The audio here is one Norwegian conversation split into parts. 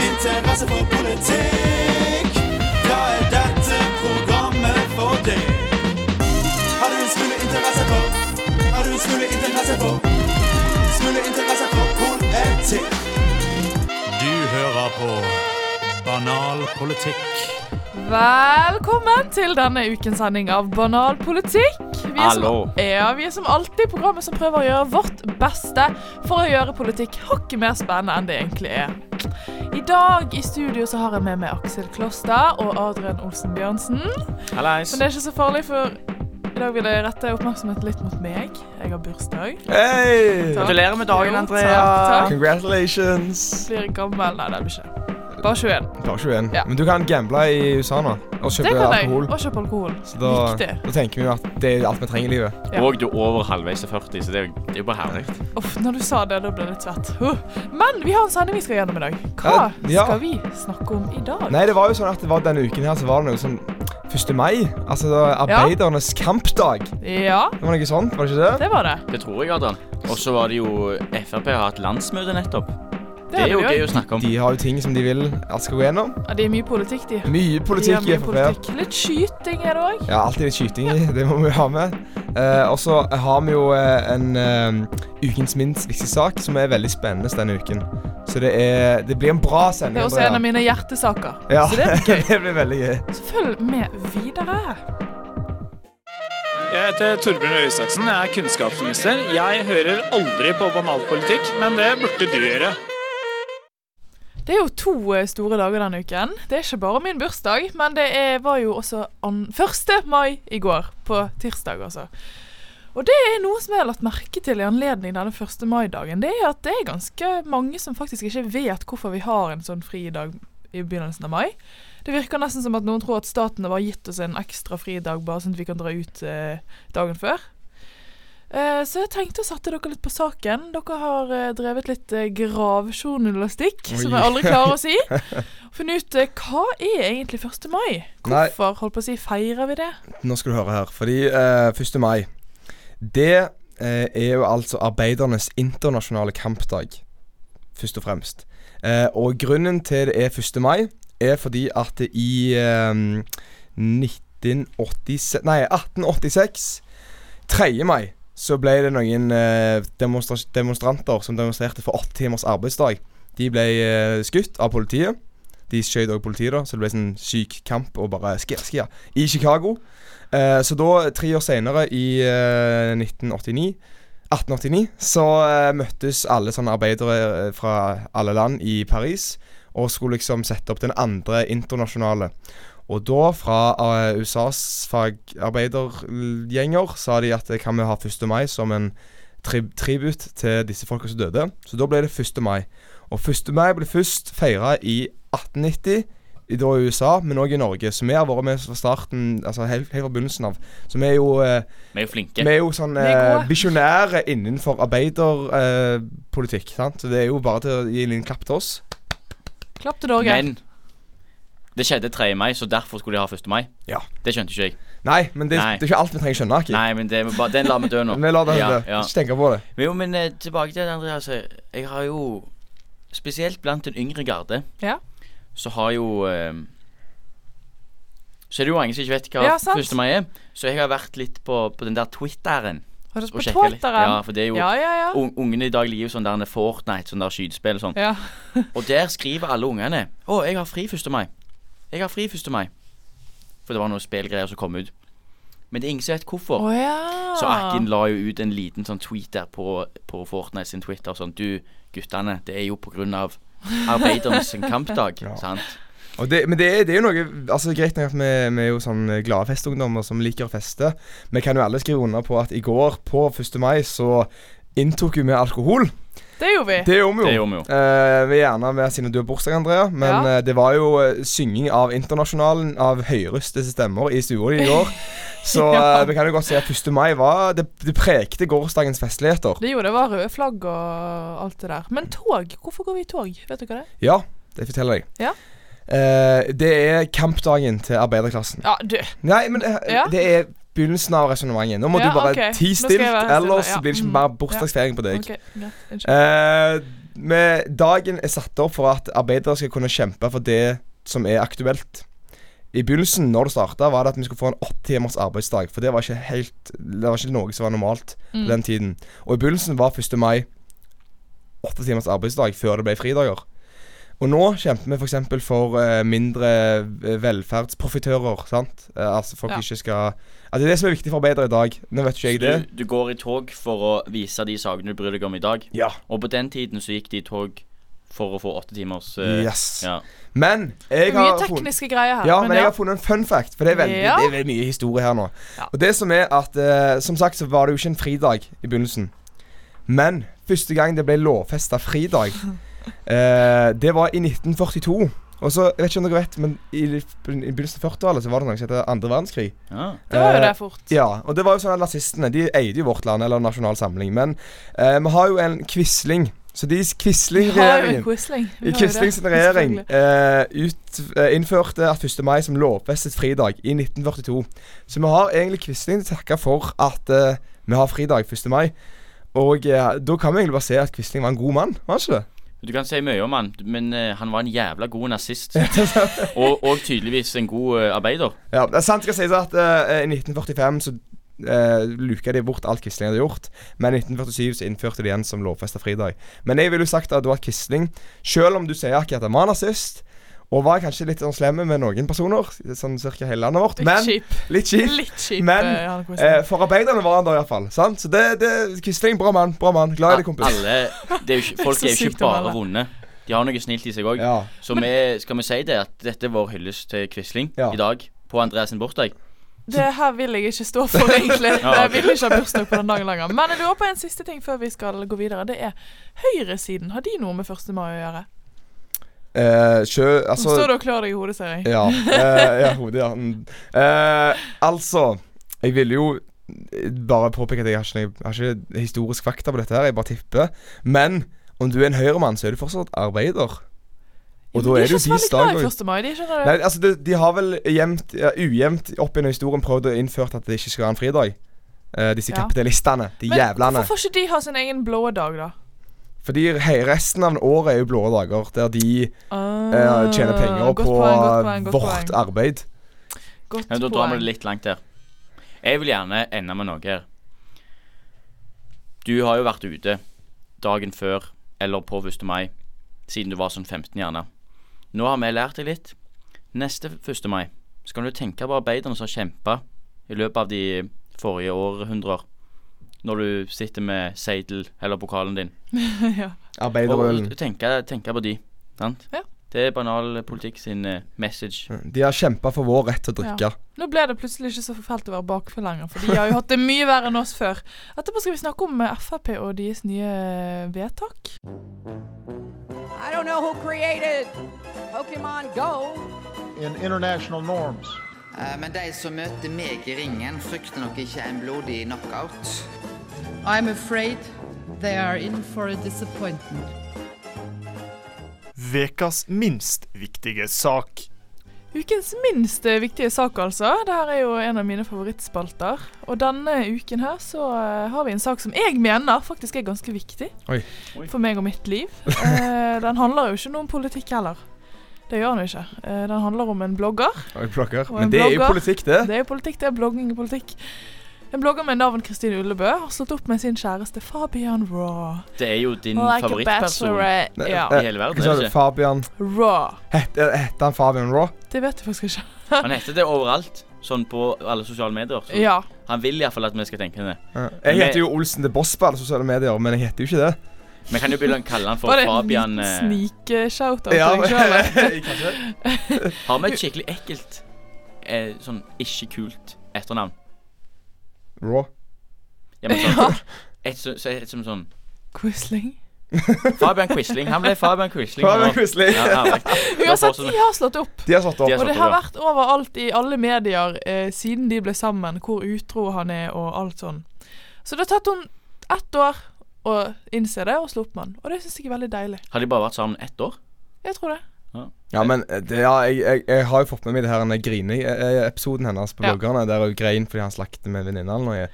interesse for politikk, da er dette programmet for deg. Har du en smule interesse for, har du en smule interesse for, smule interesse for politikk? Du hører på Banal politikk. Velkommen til denne ukens sending av Banal politikk. Vi er, Hallo. Som, ja, vi er som alltid programmet som prøver å gjøre vårt beste for å gjøre politikk hakket mer spennende enn det egentlig er. I dag i studio så har jeg med meg Aksel Kloster og Adrian Olsen Bjørnsen. Hallais. Men det er ikke så farlig, for i dag vil jeg rette oppmerksomheten litt mot meg. Jeg har bursdag. Hey! Takk. Gratulerer med dagen, Jo, Andrea. takk, takk. Congratulations! Blir jeg gammel? Nei, det blir jeg ikke. Bare 21. Bare 21. Ja. Men du kan gamble i USA nå og Det kjøpe kan jeg. alkohol. Og kjøpe alkohol. Så da, Viktig. da tenker vi jo at det er alt vi trenger i livet. Ja. Og du er over halvveis til 40, så det er jo- det er jo bare herlig. Uff, når du sa det, da ble jeg litt svett. Huh. Men vi har en sending vi skal gjennom i dag. Hva Eh, ja. skal vi snakke om i dag? Nei, det var jo sånn at det var denne uken her så var det noe sånn 1. mai. Altså det var Ja. arbeidernes kampdag. Ja, Det var noe sånt, var det ikke det? det var det. Det tror jeg, Adrian. Og så var det jo Frp har hatt landsmøte nettopp. Det hadde er jo vi gøy å snakke om. De har jo ting som de vil at skal gå gjennom. Ja, det er mye politikk, de. Mye De har politikk i mye Frp. politikk. Litt skyting er det òg. Ja, alltid litt skyting i. Det må vi jo ha med. Eh, og så har vi jo eh, en eh, ukens minst viktige sak som er veldig spennende denne uken. Så det, er, det blir en bra sending. Det er også Andrea. en av mine hjertesaker. Ja, Så det blir gøy. det blir veldig gøy. Så følg med videre. Jeg heter Torbjørn Røe Isaksen, jeg er kunnskapsminister. Jeg hører aldri på banalpolitikk, men det burde du gjøre. Det er jo to eh, store dager denne uken. Det er ikke bare min bursdag, men det er, var jo også an 1. mai i går, på tirsdag altså. Og det er noe som jeg har lagt merke til i anledning denne 1. mai-dagen. Det er at det er ganske mange som faktisk ikke vet hvorfor vi har en sånn fridag i begynnelsen av mai. Det virker nesten som at noen tror at staten har bare gitt oss en ekstra fridag bare sånn at vi kan dra ut eh, dagen før. Eh, så jeg tenkte å sette dere litt på saken. Dere har eh, drevet litt eh, gravjournalistikk, Oi. som jeg aldri klarer å si. Funnet ut eh, hva er egentlig 1. mai? Nei. Hvorfor holdt på å si, feirer vi det? Nå skal du høre her, fordi eh, 1. mai Det eh, er jo altså arbeidernes internasjonale kampdag, først og fremst. Eh, og grunnen til det er 1. mai, er fordi at det i eh, 1986 Nei, 1886. 3. mai så ble det noen eh, demonstra demonstranter som demonstrerte for åtte timers arbeidsdag. De ble eh, skutt av politiet. De skjøt også politiet, da, så det ble sånn syk kamp og bare skia, skia, i Chicago. Eh, så da, tre år senere, i eh, 1989 1889 så eh, møttes alle sånne arbeidere eh, fra alle land i Paris og skulle liksom sette opp den andre internasjonale. Og da, fra eh, USAs fagarbeidergjenger, sa de at eh, kan vi ha 1. mai som en tri tribut til disse folka som døde. Så da ble det 1. mai. Og 1. mai ble først feira i 1890, i- da i USA, men òg i Norge. Så vi har vært med fra starten, altså helt, helt fra begynnelsen av. Så vi er jo eh, Vi er jo flinke. vi er jo sånn Vi er gode. eh, visjonære innenfor arbeiderpolitikk. sant? Så det er jo bare til å gi en liten klapp til oss. Klapp til Norge. Men det skjedde 3. mai, så derfor skulle de ha 1. mai. Ja. Det skjønte ikke jeg. Nei, men det, Nei. det er ikke alt vi trenger å skjønne. Aki. Nei, men det, var bare- den lar vi dø nå. Vi lar det ja, hende. ja. Ikke tenke på det. Men Jo, men eh, tilbake til det, Andreas. Jeg har jo Spesielt blant den yngre garde Ja. så har jo eh, Så er det jo mange som ikke vet hva Ja, sant. 1. mai er. Så jeg har vært litt på, på den der Twitteren. Har du og på sjekket litt. Twitteren? Ja, for det er jo Ja, ja, ja. un Ungene i dag liker jo sånn der Fortnite, sånn der skytespill og sånn. ja. Og der skriver alle ungene Å, jeg har fri 1. mai. Jeg har fri 1. mai. For det var noen spillgreier som kom ut. Men det er ingen som vet hvorfor. Å, ja. Så Akin la jo ut en liten sånn tweet der på, på Fortnite sin Twitter sånn Du, guttene, det er jo på grunn av arbeidernes kampdag. Ja. Sant? Og det, men det er, det er jo noe altså Greit nok at vi, vi er jo sånn glade festungdommer som liker å feste. Vi kan jo alle skrive under på at i går, på 1. mai, så inntok jo vi alkohol. Det gjorde vi. Det gjorde vi jo. Det gjorde vi jo. Eh, vi er gjerne med siden du har bursdag, Andrea. Men Ja. eh, det var jo eh, synging av Internasjonalen av høyrøstede stemmer i stua di i går. Så Ja. eh, vi kan jo godt si at 1. mai var Det, det prekte gårsdagens festligheter. Det gjorde det var røde flagg og alt det der. Men tog, hvorfor går vi i tog? Vet dere det? Ja, det forteller jeg. Ja. Eh, det er kampdagen til arbeiderklassen. Ja, du. Nei, men eh, Ja. det er begynnelsen av resonnementet. Nå må Ja, du bare ok. Nå ti skal jeg stilt, være stille, ellers ja. blir det Mm. ikke mer bursdagsfeiring på deg. Ok, greit. Unnskyld. Eh, vi- dagen er satt opp for at arbeidere skal kunne kjempe for det som er aktuelt. I begynnelsen, når det starta, var det at vi skulle få en åttetimers arbeidsdag. For det var ikke helt Det var ikke noe som var normalt Mm. på den tiden. Og i begynnelsen var 1. mai åtte timers arbeidsdag før det ble fridager. Og nå kjemper vi f.eks. for, for eh, mindre eh, velferdsprofitører. sant? Eh, altså folk Ja. ikke skal At Det er det som er viktig for arbeidere i dag. Nå vet ikke jeg det. Du, du går i tog for å vise de sakene du bryr deg om i dag. Ja. Og på den tiden så gikk de i tog for å få åtte timers eh, Yes. ja. Men jeg Mye har funnet tekniske greier her. Ja, men jeg har funnet en fun fact, for det er veldig, Ja. det er veldig mye historie her nå. Ja. Og det som er at, eh, Som sagt så var det jo ikke en fridag i begynnelsen. Men første gang det ble lovfesta fridag, eh, det var i 1942. Og så, jeg vet ikke om dere vet, men I, i begynnelsen av 40-tallet så var det noe som het andre verdenskrig. ja. Det var jo Eh, det fort. Ja, og det var jo sånn at nazistene de eide jo vårt land, eller Nasjonal Samling. Men eh, vi har jo en Quisling. Så de Vi har jo Quisling-regjeringen en Quisling. Vi i har jo det, Quislings regjering selvfølgelig. eh, ut, eh, innførte at 1. mai som lovfestet fridag i 1942. Så vi har egentlig Quisling til takke for at eh, vi har fridag 1. mai. Og eh, da kan vi egentlig bare se at Quisling var en god mann, var han ikke det? Du kan si mye om han, men eh, han var en jævla god nazist. og, og tydeligvis en god eh, arbeider. Ja, det er sant skal sies at eh, i 1945 så Uh, luka de bort alt Quisling hadde gjort, men i 1947 så innførte de igjen som lovfesta fridag. Men jeg ville jo sagt at det var Quisling, selv om du sier ikke at han var nazist, og var kanskje litt sånn slemme med noen personer, sånn cirka hele landet vårt, Litt men kjip. Litt kjip. Litt kjip. Men, eh, han Quisling. Eh, for arbeiderne var han da iallfall. Så det, det Quisling, bra mann. bra mann Glad i deg, kompis. Alle, det er jo ikke, folk Så er jo sykt ikke om bare alle. vonde. De har noe snilt i seg òg. Ja. Så vi, skal vi si det at dette er vår hyllest til Quisling Ja. i dag, på Andreas sin bursdag. Det her vil jeg ikke stå for, egentlig. Ja, Jeg ok. vil ikke ha bursdag på den dagen lenger. Men jeg lurer på en siste ting før vi skal gå videre. Det er høyresiden. Har de noe med 1. mai å gjøre? Eh, sjø Nå Altså står du og klør deg i hodet, ser jeg. Ja. Eh, ja, hodet, ja. Mm. Eh, altså Jeg ville jo eh, bare påpeke at jeg har ikke, jeg har ikke historisk fakta på dette, her jeg bare tipper. Men om du er en høyremann, så er du fortsatt arbeider. Og da er det jo de deres dag òg. ikke så veldig glad i 1. mai, de skjønner Nei, det. altså, de, de har vel jevnt, ja, ujevnt opp gjennom historien prøvd å innføre at det ikke skal være en fridag. Eh, disse Ja. kapitalistene. De Men jævlene. hvorfor får ikke de ha sin egen blå dag, da? Fordi hei, resten av året er jo blå dager, der de eh, tjener penger Ah, godt på poeng, godt poeng, godt vårt poeng. arbeid. Godt Ja, da drar vi poeng. det litt langt der. Jeg vil gjerne ende med noe her. Du har jo vært ute dagen før eller på 1. mai, siden du var sånn 15 gjerne. Nå har vi lært deg litt. Neste 1. mai så kan du tenke på arbeiderne som har kjempa i løpet av de forrige århundrer. Når du sitter med seidel eller pokalen din. Arbeiderølen. Og tenke, tenke på de. Sant? Ja. Det er banal politikk sin eh, message. De har kjempa for vår rett til å drikke. Nå ble det plutselig ikke så forferdelig å være bakfull lenger, for de har jo hatt det mye verre enn oss før. Etterpå skal vi snakke om eh, Frp og deres nye eh, vedtak. I don't know who created Pokemon Go. in international norms. Eh, Men de som møter meg i ringen, frykter nok ikke en blodig knockout. I'm afraid they are in for a disappointment. Vekas minst viktige sak. Ukens minst eh, viktige sak, altså. Dette er jo en av mine favorittspalter. Og denne uken her så eh, har vi en sak som jeg mener faktisk er ganske viktig Oi. Oi. for meg og mitt liv. Eh, den handler jo ikke noe om politikk heller. Det gjør den jo ikke. Eh, den handler om en blogger. Oi, blokker. Og en Men det er jo blogger. politikk, det. Det er jo politikk, det er blogging i politikk. En blogger med navn Kristine Ullebø har slått opp med sin kjæreste Fabian Raw. Det er jo din Like a favorittperson bachelorette. Nei, Ja. eh, i hele verden. Hva sa er du? det ikke? Fabian Raw. Heter heter han Fabian Raw? Det vet jeg faktisk ikke. Han heter det overalt, sånn på alle sosiale medier. Så Ja. Han vil iallfall at vi skal tenke det. Ja. Men Jeg det- heter jo Olsen til Boss på alle sosiale medier, men jeg heter jo ikke det. Vi kan jo begynne å kalle han for Var det en Fabian liten eh, snik-shout-out til Ja, deg sjøl? eller? kanskje. Har vi et skikkelig ekkelt, eh, sånn ikke kult etternavn? Raw. Ja, men sånn, et, så, så- et som sånn Quisling. Fabian Quisling. Han ble Fabian Quisling. han Fabian også. Quisling. Ja, herlig. Uansett, fortsatt- de har slått opp. De har satt De sånn- opp. har- Og det slått har opp, vært overalt i alle medier eh, siden de ble sammen, hvor utro han er og alt sånn. Så det har tatt hun ett år å innse det, og slå opp med han. Og det syns jeg er veldig deilig. Har de bare vært sammen ett år? Jeg tror det. Ja, men eh, det, ja, jeg, jeg, jeg har jo fått med meg det her denne grine-episoden hennes på Ja. bloggerne, der hun grein fordi han slaktet med en venninne eller noe.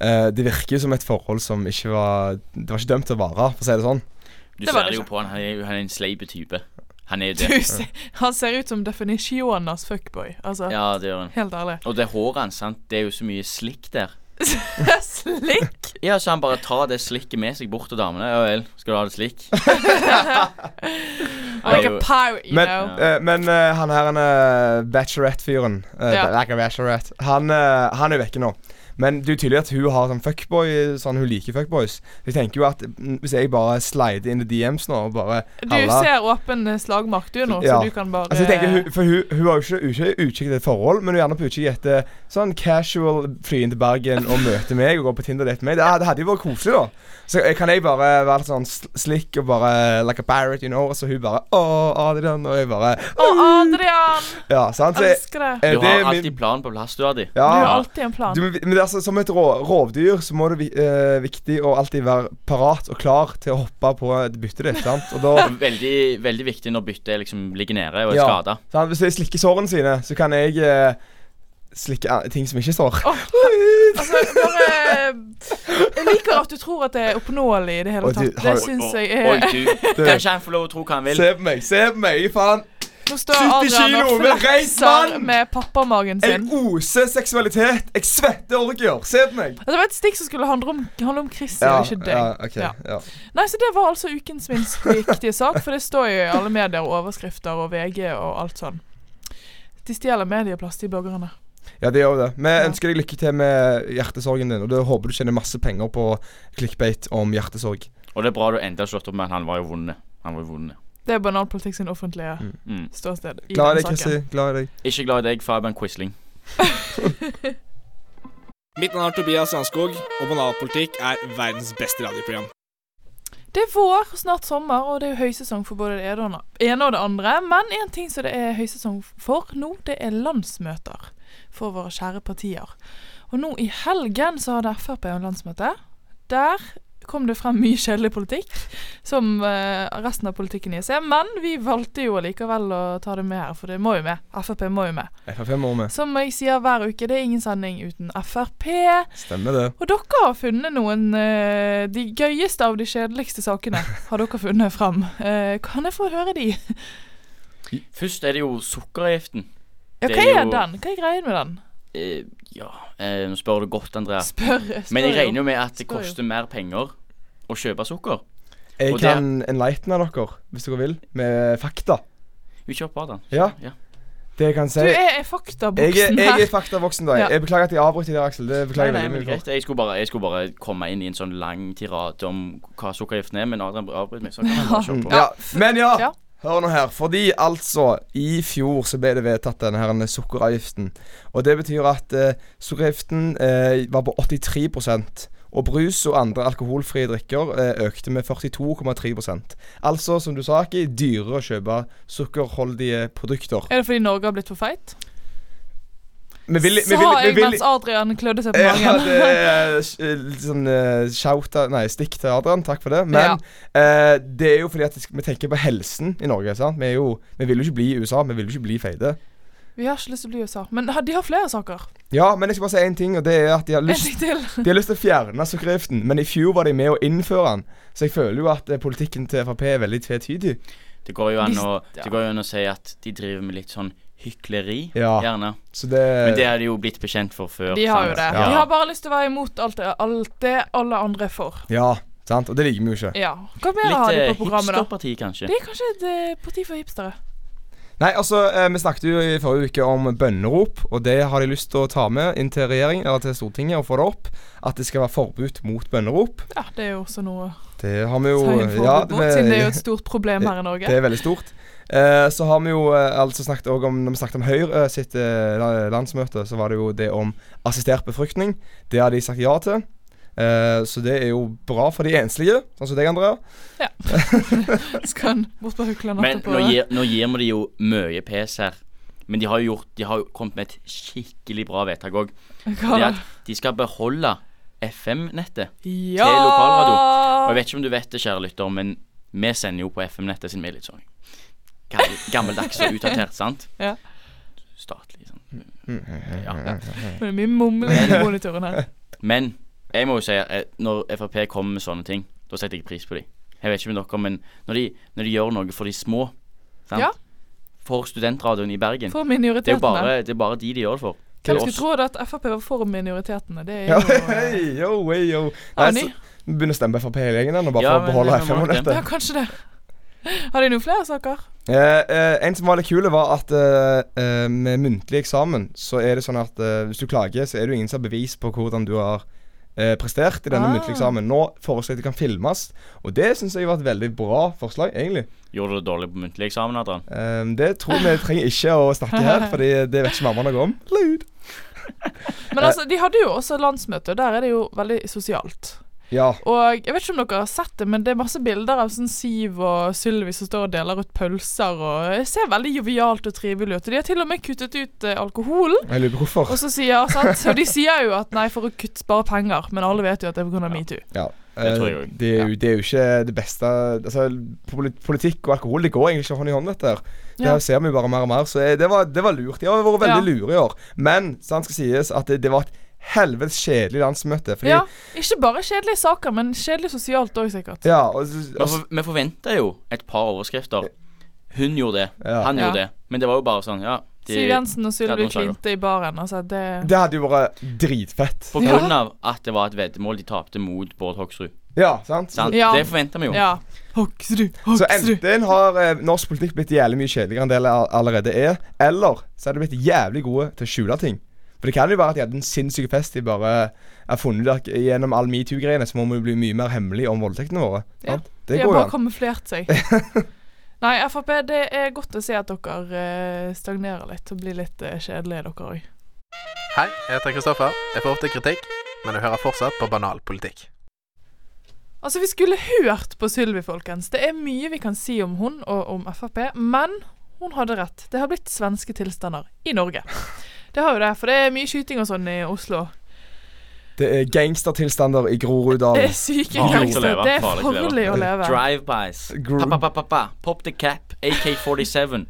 Eh, det virker jo som et forhold som ikke var Det var ikke dømt til å vare, for å si det sånn. Du Det var ser det jo ikke. på han, han er jo han er en sleipe type. Han er jo Du det. ser, han ser ut som definisjonas fuckboy. Altså, Ja, det gjør han. helt ærlig. Og det håret hans, sant, det er jo så mye slikk der. Slikk! Ja, så han bare tar det slikket med seg bort til damene. Ja vel, skal du ha det slikk? Han er Like a jo, pirate, you Men, know. eh, men eh, han her, han eh, Bachelorette-fyren eh, Ja. Like a Bachelorette. Han, eh, han er vekke nå. Men det er jo tydelig at hun har sånn fuckboy Sånn hun liker fuckboys. Så jeg tenker jo at mm, hvis jeg bare slider inn i DMs nå og bare Du ser åpen eh, slagmark du nå, Ja. så du kan bare Altså jeg tenker hun, For hun, hun har jo ikke utkikk utkikk etter et forhold, men hun er gjerne på utkikk etter sånn casual fly inn til Bergen og møte meg og gå på Tinder og date med meg. Det, det hadde jo vært koselig, da. Så jeg- kan jeg bare være litt sånn sl- slick og bare like a parrot, you know, og så hun bare Å, Adrian, og jeg bare Å, Adrian! Ja, sant? Så jeg, Elsker det. eh, du det er har min- alltid planen på plass, du, Adi. Du har Ja. alltid en plan. Du, men men det er altså, som et rå, rovdyr så må det vi- eh, viktig å alltid være parat og klar til å hoppe på et bytte ditt. sant? Og da, Veldig, veldig viktig når byttet liksom ligger nede og er Ja. skada. sant? Hvis jeg slikker sårene sine, så kan jeg eh, slikke an- ting som ikke sår. Åh, altså, bare eh, Jeg liker at du tror at det er oppnåelig i det hele Og du tatt. har- Det syns jeg Oi, er du. Kanskje han får lov å tro hva han vil. Se på meg, se på meg, faen. Nå står 70 Adrian og kilo med reist flakser mann! med pappamagen Jeg sin. oser seksualitet. Jeg svetter orgier. Se på meg. Altså, Det var et stikk som skulle handle om, handle om Christian, og Altså, ikke deg. ja, ok, Ja. ja. Nei, så Det var altså ukens minst viktige sak, for det står jo i alle medier og overskrifter og VG og alt sånn. De stjeler medieplass, de bloggerne. Ja, det gjør jo det. Vi Ja. ønsker deg lykke til med hjertesorgen din, og da håper du tjener masse penger på clickbait om hjertesorg. Og det er bra du endelig har slått opp med at han var jo vond. Han var jo vond. Det er bananpolitikk sin offentlige Mm. ståsted. i Glad denne i deg, saken. Chrissy. Glad i deg. Ikke glad i deg, Fabian Quisling. Mitt navn er Tobias Janskog, og Banalpolitikk er verdens beste radioprogram. Det er vår, og snart sommer, og det er jo høysesong for både det ene og det- ene og det andre. Men en ting som det er høysesong for nå, det er landsmøter for våre kjære partier. Og nå i helgen så hadde Frp en landsmøte. Der kom det frem mye kjedelig politikk, som eh, resten av politikken i seg. Men vi valgte jo allikevel å ta det med her, for det må jo med. Frp må jo med. Frp må med. Som jeg sier hver uke, det er ingen sending uten Frp. Stemmer det. Og dere har funnet noen eh, De gøyeste av de kjedeligste sakene har dere funnet fram. Eh, kan jeg få høre de? Først er det jo sukkeravgiften. Ja, Det hva er er jo- den? Hva er greien med den? Eh, ja, eh, nå spør du godt, Andrea. Spør, spør Men jeg regner jo med at det Spør jo. koster mer penger å kjøpe sukker. Jeg Og det- kan enlightene dere, hvis dere vil, med fakta. Vi kjøper bare den. Ja. Ja. Det jeg kan si Du Jeg er i er, faktaboksen jeg er her. faktavoksen, da. Ja. Jeg beklager at jeg avbryter deg, Aksel. Det Nei, beklager nei, jeg men veldig mye greit. for. Jeg skulle, bare, jeg skulle bare komme inn i en sånn lang tirade om hva sukkeravgiften er, men Adrian avbryter meg. Så kan jeg bare kjøre Mm, på. Ja. Men ja, Ja. hør nå her. Fordi altså, i fjor så ble det vedtatt denne her sukkeravgiften. Og det betyr at eh, sukkeravgiften eh, var på 83 og brus og andre alkoholfrie drikker eh, økte med 42,3 Altså, som du sa, Aki, dyrere å kjøpe sukkerholdige produkter. Er det fordi Norge har blitt for feit? Vi vil- vi Sa vil- vi jeg vil- mens Adrian klødde seg på Ja, magen. det er eh, litt sånn eh, shout out, Nei, stikk til Adrian. Takk for det. Men eh, det er jo fordi at vi tenker på helsen i Norge. sant? Vi, er jo, vi vil jo ikke bli i USA. Vi vil jo ikke bli feite. Vi har ikke lyst til å bli USA. Men ha- de har flere saker. Ja, men jeg skal bare si én ting, og det er at de har En lyst, ting til. de har lyst til å fjerne sukkeravgiften. Men i fjor var de med å innføre den, så jeg føler jo at eh, politikken til Frp er veldig tvetydig. Det går jo an å, Visst, ja. det går jo an å si at de driver med litt sånn hykleri, Ja. gjerne. Så det, Men det er de jo blitt bekjent for før. De har jo sant? det. Ja. De har bare lyst til å være imot alt det, alt det alle andre er for. Ja, sant? Og det liker vi jo ikke. Ja. Hva mer Litt har de eh, på programmet, da? hipsterparti, kanskje. Det er kanskje et eh, parti for hipstere. Nei, altså, eh, Vi snakket jo i forrige uke om bønnerop, og det har de lyst til å ta med inn til regjering, eller til Stortinget og få det opp. At det skal være forbud mot bønnerop. Ja, det er jo også noe Det har vi jo Tegn for ja, robot, siden det er jo et vi, stort problem her i Norge. det er veldig stort. Eh, så har vi jo eh, altså snakket også om Når vi snakket om Høyre sitt eh, la- landsmøte, så var det jo det om assistert befruktning. Det har de sagt ja til. Eh, så det er jo bra for de enslige, sånn som deg, Andrea. Skal han bort på Haukeland Men etterpå? nå gir, nå gir vi de jo mye pes her. Men de har jo gjort, de har jo kommet med et skikkelig bra vedtak òg. Hva Det er da? at de skal beholde FM-nettet. Ja! lokalradio. Og jeg vet ikke om du vet det, kjære lytter, men vi sender jo på FM-nettet siden vi er litt sånn gammel, gammeldags og utdatert, sant? Ja. Statlig, sant. Ja, ja. Det er mye mumling i monitoren her. Men jeg må jo si at eh, når Frp kommer med sånne ting, da setter jeg pris på dem. Jeg vet ikke med dere, men når de, når de gjør noe for de små sant? Ja. For studentradioen i Bergen. For det er jo minoritetene. bare, det er bare de de gjør det for. Hvem Det er skulle oss. tro da at Frp var for minoritetene? Det er Ja, jo eh, hei, yo, hei, yo. Ja, Nei, ny. så, vi begynner å stemme på Frp hele gjengen den, og bare Ja, for å men beholde det må nok det. FM-minutter. Ja, kanskje det. Har de noen flere saker? Eh, eh, en som var litt kul, var at eh, eh, med muntlig eksamen så er det sånn at eh, hvis du klager, så er det jo ingen som har bevis på hvordan du har eh, prestert i denne Ah. muntlige eksamen. Nå foreslår jeg at det kan filmes, og det syns jeg var et veldig bra forslag, egentlig. Gjorde du det dårlig på muntlig eksamen, Adrian? Eh, det tror vi trenger ikke å snakke her, Fordi det vet ikke mamma noe om. Lyd. Men altså, de hadde jo også landsmøte, og der er det jo veldig sosialt. Ja. Og jeg vet ikke om dere har sett det, men det er masse bilder av sånn Siv og Sylvi som står og deler ut pølser, og det ser veldig jovialt og trivelig ut. Og de har til og med kuttet ut eh, alkoholen. Jeg lurer på hvorfor. Og så sier, sant? Og de sier jo at nei, for å kutte spare penger, men alle vet jo at det er pga. metoo. Ja. Det tror jeg Eh, også. det, er jo, det er jo ikke det beste Altså, poli- Politikk og alkohol det går egentlig ikke hånd i hånd, dette her. Det Ja. her ser vi jo bare mer og mer. Så eh, det var, det var lurt. De har vært veldig lure i år. Men sant skal sies at det, det var et helvetes kjedelig landsmøte. Fordi, Ja, ja. Ikke bare kjedelige saker, men kjedelig sosialt òg, sikkert. og, så- Vi og, så- for- Vi forventa jo et par overskrifter. Hun gjorde det, Ja. han gjorde Ja. det. Men det var jo bare sånn, ja de- Siv Jensen og Ja, Sylvi noen saker. Klinte i baren. Altså, det det hadde jo vært dritfett. På grunn av at det var et veddemål de tapte mot Bård Hoksrud. Ja, sant? Så, Sant? Ja. Det forventa vi jo. Ja. Hoksrud, så Hoksrud. enten har eh, norsk politikk blitt jævlig mye kjedeligere enn det all- allerede er, eller så er de blitt jævlig gode til å skjule ting. For det kan jo være at de hadde en sinnssyk fest de bare har funnet ut at gjennom all metoo-greiene, så må vi bli mye mer hemmelige om voldtektene våre. Ja. sant? De Det har går jo bare an. kamuflert seg. Nei, Frp, det er godt å se at dere eh, stagnerer litt og blir litt eh, kjedelige, dere òg. Hei, jeg heter Kristoffer. Jeg får ofte kritikk, men jeg hører fortsatt på banal politikk. Altså, vi skulle hørt på Sylvi, folkens. Det er mye vi kan si om hun og om Frp, men hun hadde rett. Det har blitt svenske tilstander i Norge. Det har jo det, for det er mye skyting og sånn i Oslo. Det er gangstertilstander i Groruddalen. Det er syke Farlig å gangster. leve, Det er farlig å leve. farlig å leve. Drive-bys. Gru- Pa-pa-pa-pa-pa. Pop the cap. AK-47.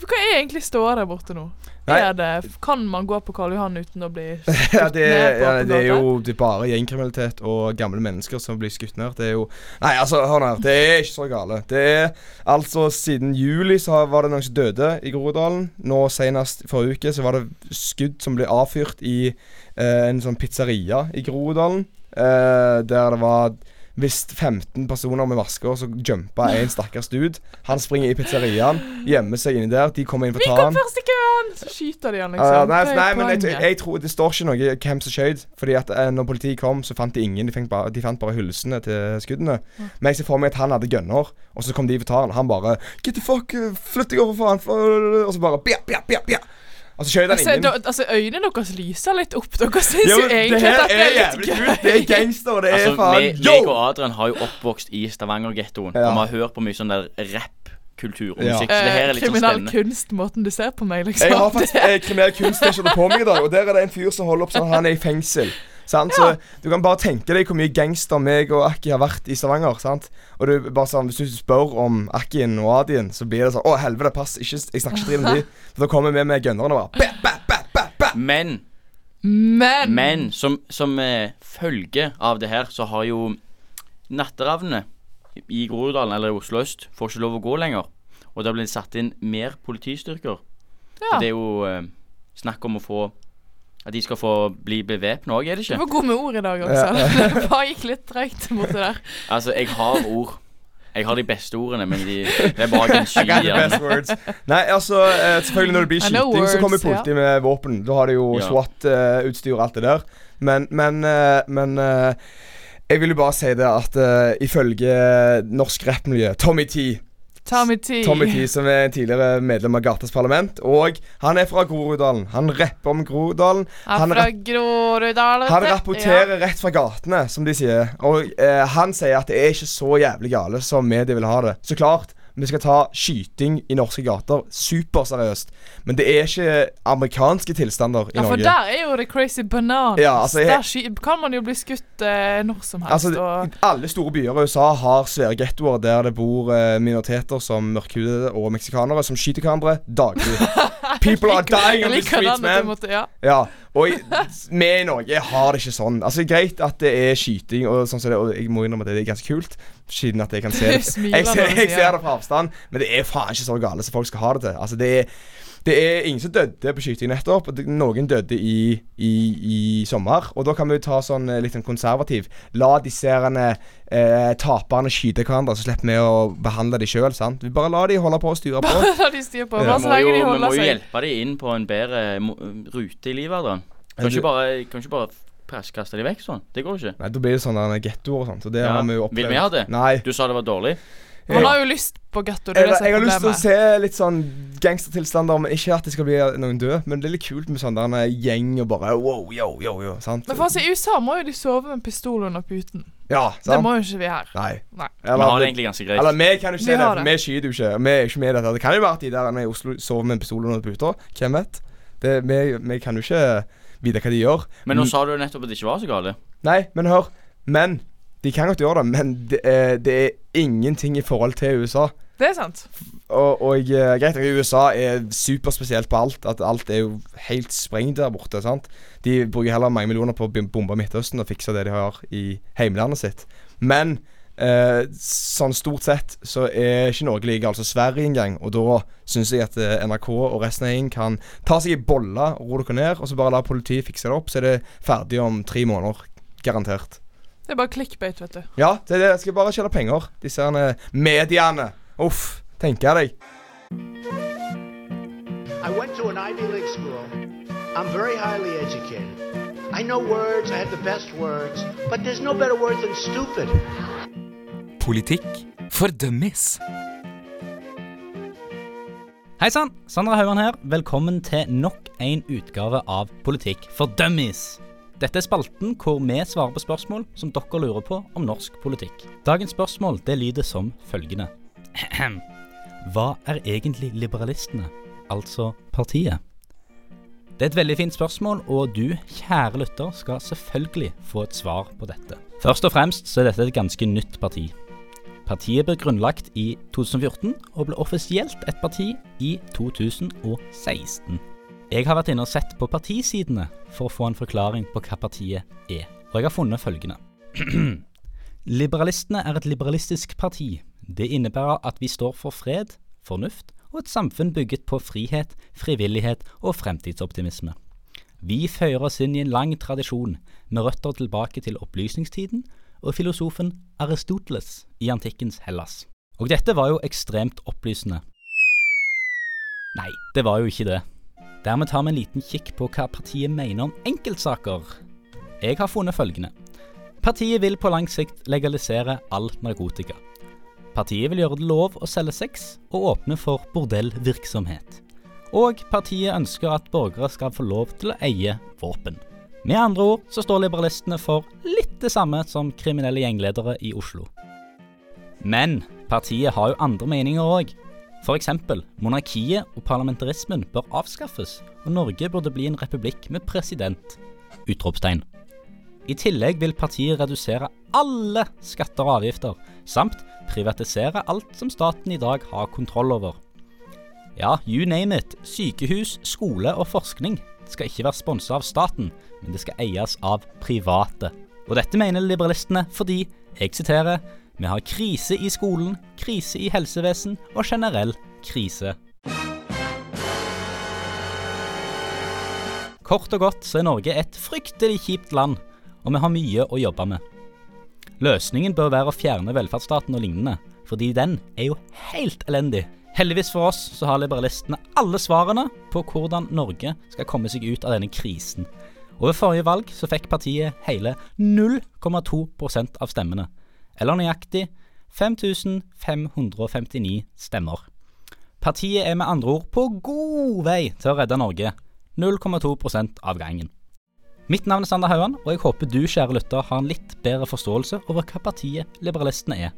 Hva er egentlig ståa der borte nå? Nei. Er det, kan man gå på Karl Johan uten å bli Ja, ned det, på ja, det er gata. jo det er bare gjengkriminalitet og gamle mennesker som blir skutt ned. Det er jo Nei, altså, hør nå her. Det er ikke så gale. Det er altså Siden juli så har- var det noen som døde i Groruddalen. Nå senest forrige uke så var det skudd som ble avfyrt i eh, en sånn pizzeria i Groruddalen. eh, der det var visst 15 personer med masker som jumpa en stakkars dude. Han springer i pizzeriaen, gjemmer seg inni der. De kommer inn for å Vi ta kom han. først i køen! Så skyter de han, liksom. Ja, Hva nei, altså, er nei, men jeg, poenget? jeg tror det står ikke noe hvem som skjøt. Fordi at eh, når politiet kom, så fant de ingen. De fant bare, de fant bare hylsene til skuddene. Men jeg ser for meg at han hadde gunner, og så kom de for å ta han. Han bare Get the fuck, eh, flytt deg over, faen. for-" Og så bare bia, bia, bia, bia. Og så skjøt han Altså, ingen. da, altså, øynene deres lyser litt opp. Dere syns Jo, jo egentlig at dette er litt jævlig kult. Det er gøy. gangster, det er Altså, faen vi- meg og yo! Adrian har jo oppvokst i Stavanger-gettoen. Ja. Og vi har hørt på mye sånn der rappkultur og Ja. musikk. Så det her er litt sånn Eh, Kriminell spennende. kunst, måten du ser på meg, liksom. Jeg har faktisk eh, kriminell kunst jeg kjørte på meg i dag, og der er det en fyr som holder opp sånn at han er i fengsel. Sant? Ja. Så Du kan bare tenke deg hvor mye gangster meg og Akki har vært i Stavanger. sant? Og det er bare sånn, Hvis du spør om Akkien og Adien, så blir det sånn Å, helvete, pass. Ikke, jeg snakker ikke dritt om de. For da kommer vi med gunnerne og bare ba, ba, ba, ba, ba. Men, Men, men som, som eh, følge av det her, så har jo Natteravnene i Groruddalen eller i Oslo øst får ikke lov å gå lenger. Og det har blitt satt inn mer politistyrker. Det ja, det er jo eh, snakk om å få At de skal få bli bevæpna òg, er det ikke? var god med ord i dag, altså. Det bare gikk litt treigt borti der. Altså, jeg har ord. Jeg har de beste ordene, men de, det er bak en sky. Got the ja. best words. Nei, altså, eh, selvfølgelig når det blir I know skyting, så kommer words, ja. politiet med våpen. Da har de jo Ja. SWAT-utstyr og alt det der. Men, men, eh, men eh, jeg vil jo bare si det at eh, ifølge norsk rappmiljø, Tommy T Tommy T. Tommy T, som er tidligere medlem av Gatas Parlament. Og han er fra Groruddalen. Han rapper om Groruddalen. Er Han, fra rap Groruddalen. han vet du. rapporterer rett fra gatene, som de sier. Og eh, han sier at det er ikke så jævlig gale som media vil ha det. Så klart, vi skal ta skyting i norske gater superseriøst. Men det er ikke amerikanske tilstander i Ja, for Norge. der er jo det crazy bananas. Ja, altså, jeg- der sky kan man jo bli skutt eh, når som helst. Altså, og, Alle store byer i USA har svære gettoer der det bor eh, minoriteter som mørkhudede og meksikanere som skyter hverandre daglig. People are dying Jeg on the liker streets, den at du man. måtte- ja. Ja, Og jeg, vi i Norge har det ikke sånn. Altså Greit at det er skyting, og sånn som det, og jeg må innrømme at det er ganske kult. Siden at jeg kan se det. Du smiler Jeg ser, når du jeg sier ser det. det fra avstand, men det er faen ikke så gale som folk skal ha det til. Altså det er, det er ingen som døde på skyting nettopp. og det- Noen døde i, i, i sommer. Og da kan vi jo ta sånn eh, litt sånn konservativ. La disse herrene, eh, taperne skyte hverandre, så slipper vi å behandle dem sjøl. Vi bare la de holde på og styre på. Bare la de styre på. Bare Ja. Vi så lenge må jo- de vi må holder jo seg. hjelpe dem inn på en bedre mo- eh, rute i livet. da Kan Men du- ikke bare, kan ikke bare presskaste dem vekk sånn. Det går ikke. Nei, Da blir det sånn gettoer og sånt. Og det Ja. har vi jo Vil opplevd. vi ha det? Nei. Du sa det var dårlig. Man har jo lyst på getto. Det er Eller, det som jeg har er lyst til å problemet. se litt sånn gangstertilstander, men ikke at det skal bli noen død. Men det er litt kult med sånn der en gjeng og bare wow, yo, yo, yo. Sant? Men for altså, I USA må jo de sove med en pistol under puten. Ja, sant? Det må jo ikke vi her. Nei. Nei. Vi har det egentlig ganske greit. Eller vi kan jo ikke Vi se det, har for det. vi skyter jo ikke. Vi er jo ikke med i dette. Det kan jo være at de der nede i Oslo sover med en pistol under puta. Hvem vet? Det, vi, vi kan jo ikke vite hva de gjør. Men nå sa du jo nettopp at det ikke var så gale. Nei, men hør. Men de kan godt gjøre det, men det, er- det er ingenting i forhold til USA. Det er sant. Og, og eh, greit nok, USA er superspesielt på alt. At alt er jo helt sprengt der borte. sant? De bruker heller mange millioner på å bom- bombe Midtøsten og fikse det de har i heimlandet sitt. Men eh, sånn stort sett så er ikke Norge like altså Sverige engang. Og da syns jeg at eh, NRK og resten av gjengen kan ta seg i bolla, ro dere ned, og så bare la politiet fikse det opp, så er det ferdig om tre måneder. Garantert. Det er bare clickbait, vet du. Ja, det er det. Jeg skal bare tjene penger. Disse herne mediene. Uff. Tenker jeg deg. I went to an Ivy League school. I'm very highly educated. I know words, I have the best words, but there's no better word than stupid. Politikk for dummies. Hei sann, Sandra Haugan her. Velkommen til nok en utgave av Politikk for dummies. Dette er spalten hvor vi svarer på spørsmål som dere lurer på om norsk politikk. Dagens spørsmål det lyder som følgende. Hva er egentlig liberalistene, altså partiet? Det er et veldig fint spørsmål, og du, kjære lytter, skal selvfølgelig få et svar på dette. Først og fremst så er dette et ganske nytt parti. Partiet ble grunnlagt i 2014, og ble offisielt et parti i 2016. Jeg har vært inne og sett på partisidene for å få en forklaring på hva partiet er, og jeg har funnet følgende. Liberalistene er et liberalistisk parti. Det innebærer at vi står for fred, fornuft og et samfunn bygget på frihet, frivillighet og fremtidsoptimisme. Vi føyer oss inn i en lang tradisjon med røtter tilbake til opplysningstiden og filosofen Aristoteles i antikkens Hellas. Og dette var jo ekstremt opplysende. Nei, det var jo ikke det. Dermed tar vi en liten kikk på hva partiet mener om enkeltsaker. Jeg har funnet følgende. Partiet vil på lang sikt legalisere all narkotika. Partiet vil gjøre det lov å selge sex og åpne for bordellvirksomhet. Og partiet ønsker at borgere skal få lov til å eie våpen. Med andre ord så står liberalistene for litt det samme som kriminelle gjengledere i Oslo. Men partiet har jo andre meninger òg. F.eks. monarkiet og parlamentarismen bør avskaffes, og Norge burde bli en republikk med president. Utropstegn. I tillegg vil partiet redusere alle skatter og avgifter, samt privatisere alt som staten i dag har kontroll over. Ja, you name it. Sykehus, skole og forskning skal ikke være sponsa av staten, men det skal eies av private. Og dette mener liberalistene fordi, jeg siterer, vi har krise i skolen, krise i helsevesen og generell krise. Kort og godt så er Norge et fryktelig kjipt land, og vi har mye å jobbe med. Løsningen bør være å fjerne velferdsstaten og lignende, fordi den er jo helt elendig. Heldigvis for oss så har liberalistene alle svarene på hvordan Norge skal komme seg ut av denne krisen. Og ved forrige valg så fikk partiet hele 0,2 av stemmene, eller nøyaktig 5559 stemmer. Partiet er med andre ord på god vei til å redde Norge. 0,2 av gangen. Mitt navn er Sander Hauan, og jeg håper du, kjære lytter, har en litt bedre forståelse over hva partiet Liberalistene er.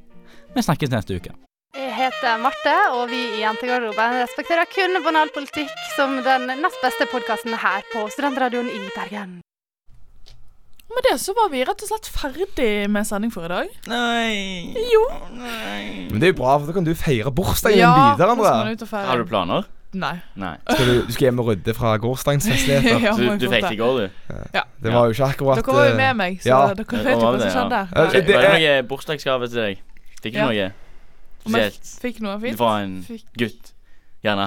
Vi snakkes neste uke. Jeg heter Marte, og vi i Jentegarderoben respekterer kun banal politikk som den nest beste podkasten her på Studentradioen i Bergen. Med det så var vi rett og slett ferdig med sending for i dag. Nei. Jo. Men det er jo bra, for da kan du feire bursdagen Ja, din videre. nå skal Andrea. man ut og feire. Har du planer? Nei. Nei. Skal du, du skal hjem og rydde fra gårsdagens festligheter? Ja, Du, du fikk det i går, du. Ja. Det var jo ikke akkurat Dere var jo eh, med meg, så ja. dere vet jo hva som skjedde der. Ja, Var det det noe bursdagsgave til deg? Fikk du Ja. noe Om jeg spesielt? fikk noe fint? Det var en Fikk- gutt. Gjerne.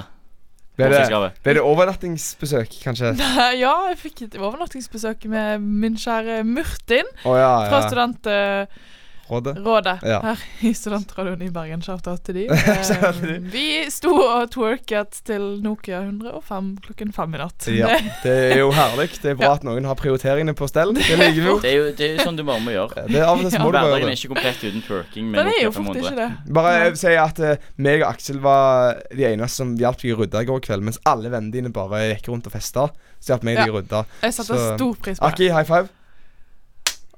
Ble Bursdagsgave. det, ble det overnattingsbesøk, kanskje? Nei, ja, jeg fikk et overnattingsbesøk med min kjære Murtin Å, ja, ja. fra Studentrådet Rådet? Ja. her i Studentradioen i Bergen. Shout-out til de. Eh, vi sto og twerket til Nokia 105 klokken fem i natt. Ja, det er jo herlig. Det er bra at noen har prioriteringene på stell. Det liker vi jo. Det er jo det er jo sånn du bare må gjøre. det er av og til så må du bare Hverdagen er gjøre det. ikke komplett uten twerking. Den er jo fort ikke det. Bare si at eh, meg og Aksel var de eneste som hjalp deg å rydde i går kveld, mens alle vennene dine bare gikk rundt og festa. Så hjalp meg Ja. deg å rydde. Jeg setter Så- stor pris på det. Aki, high five.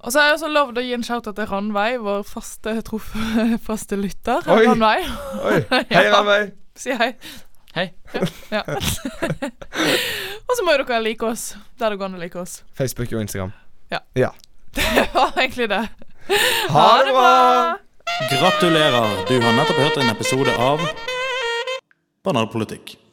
Og så har jeg også lovd å gi en shout-out til Ranveig, vår faste, trof faste lytter. Oi. Ranveig. Oi. Hei, Ranveig. Si hei. Hei. Ja. og så må jo dere like oss der det går an å like oss. Facebook og Instagram. Ja. ja. Det var egentlig det. Ha det bra! Gratulerer, du har nettopp hørt en episode av Banalpolitikk.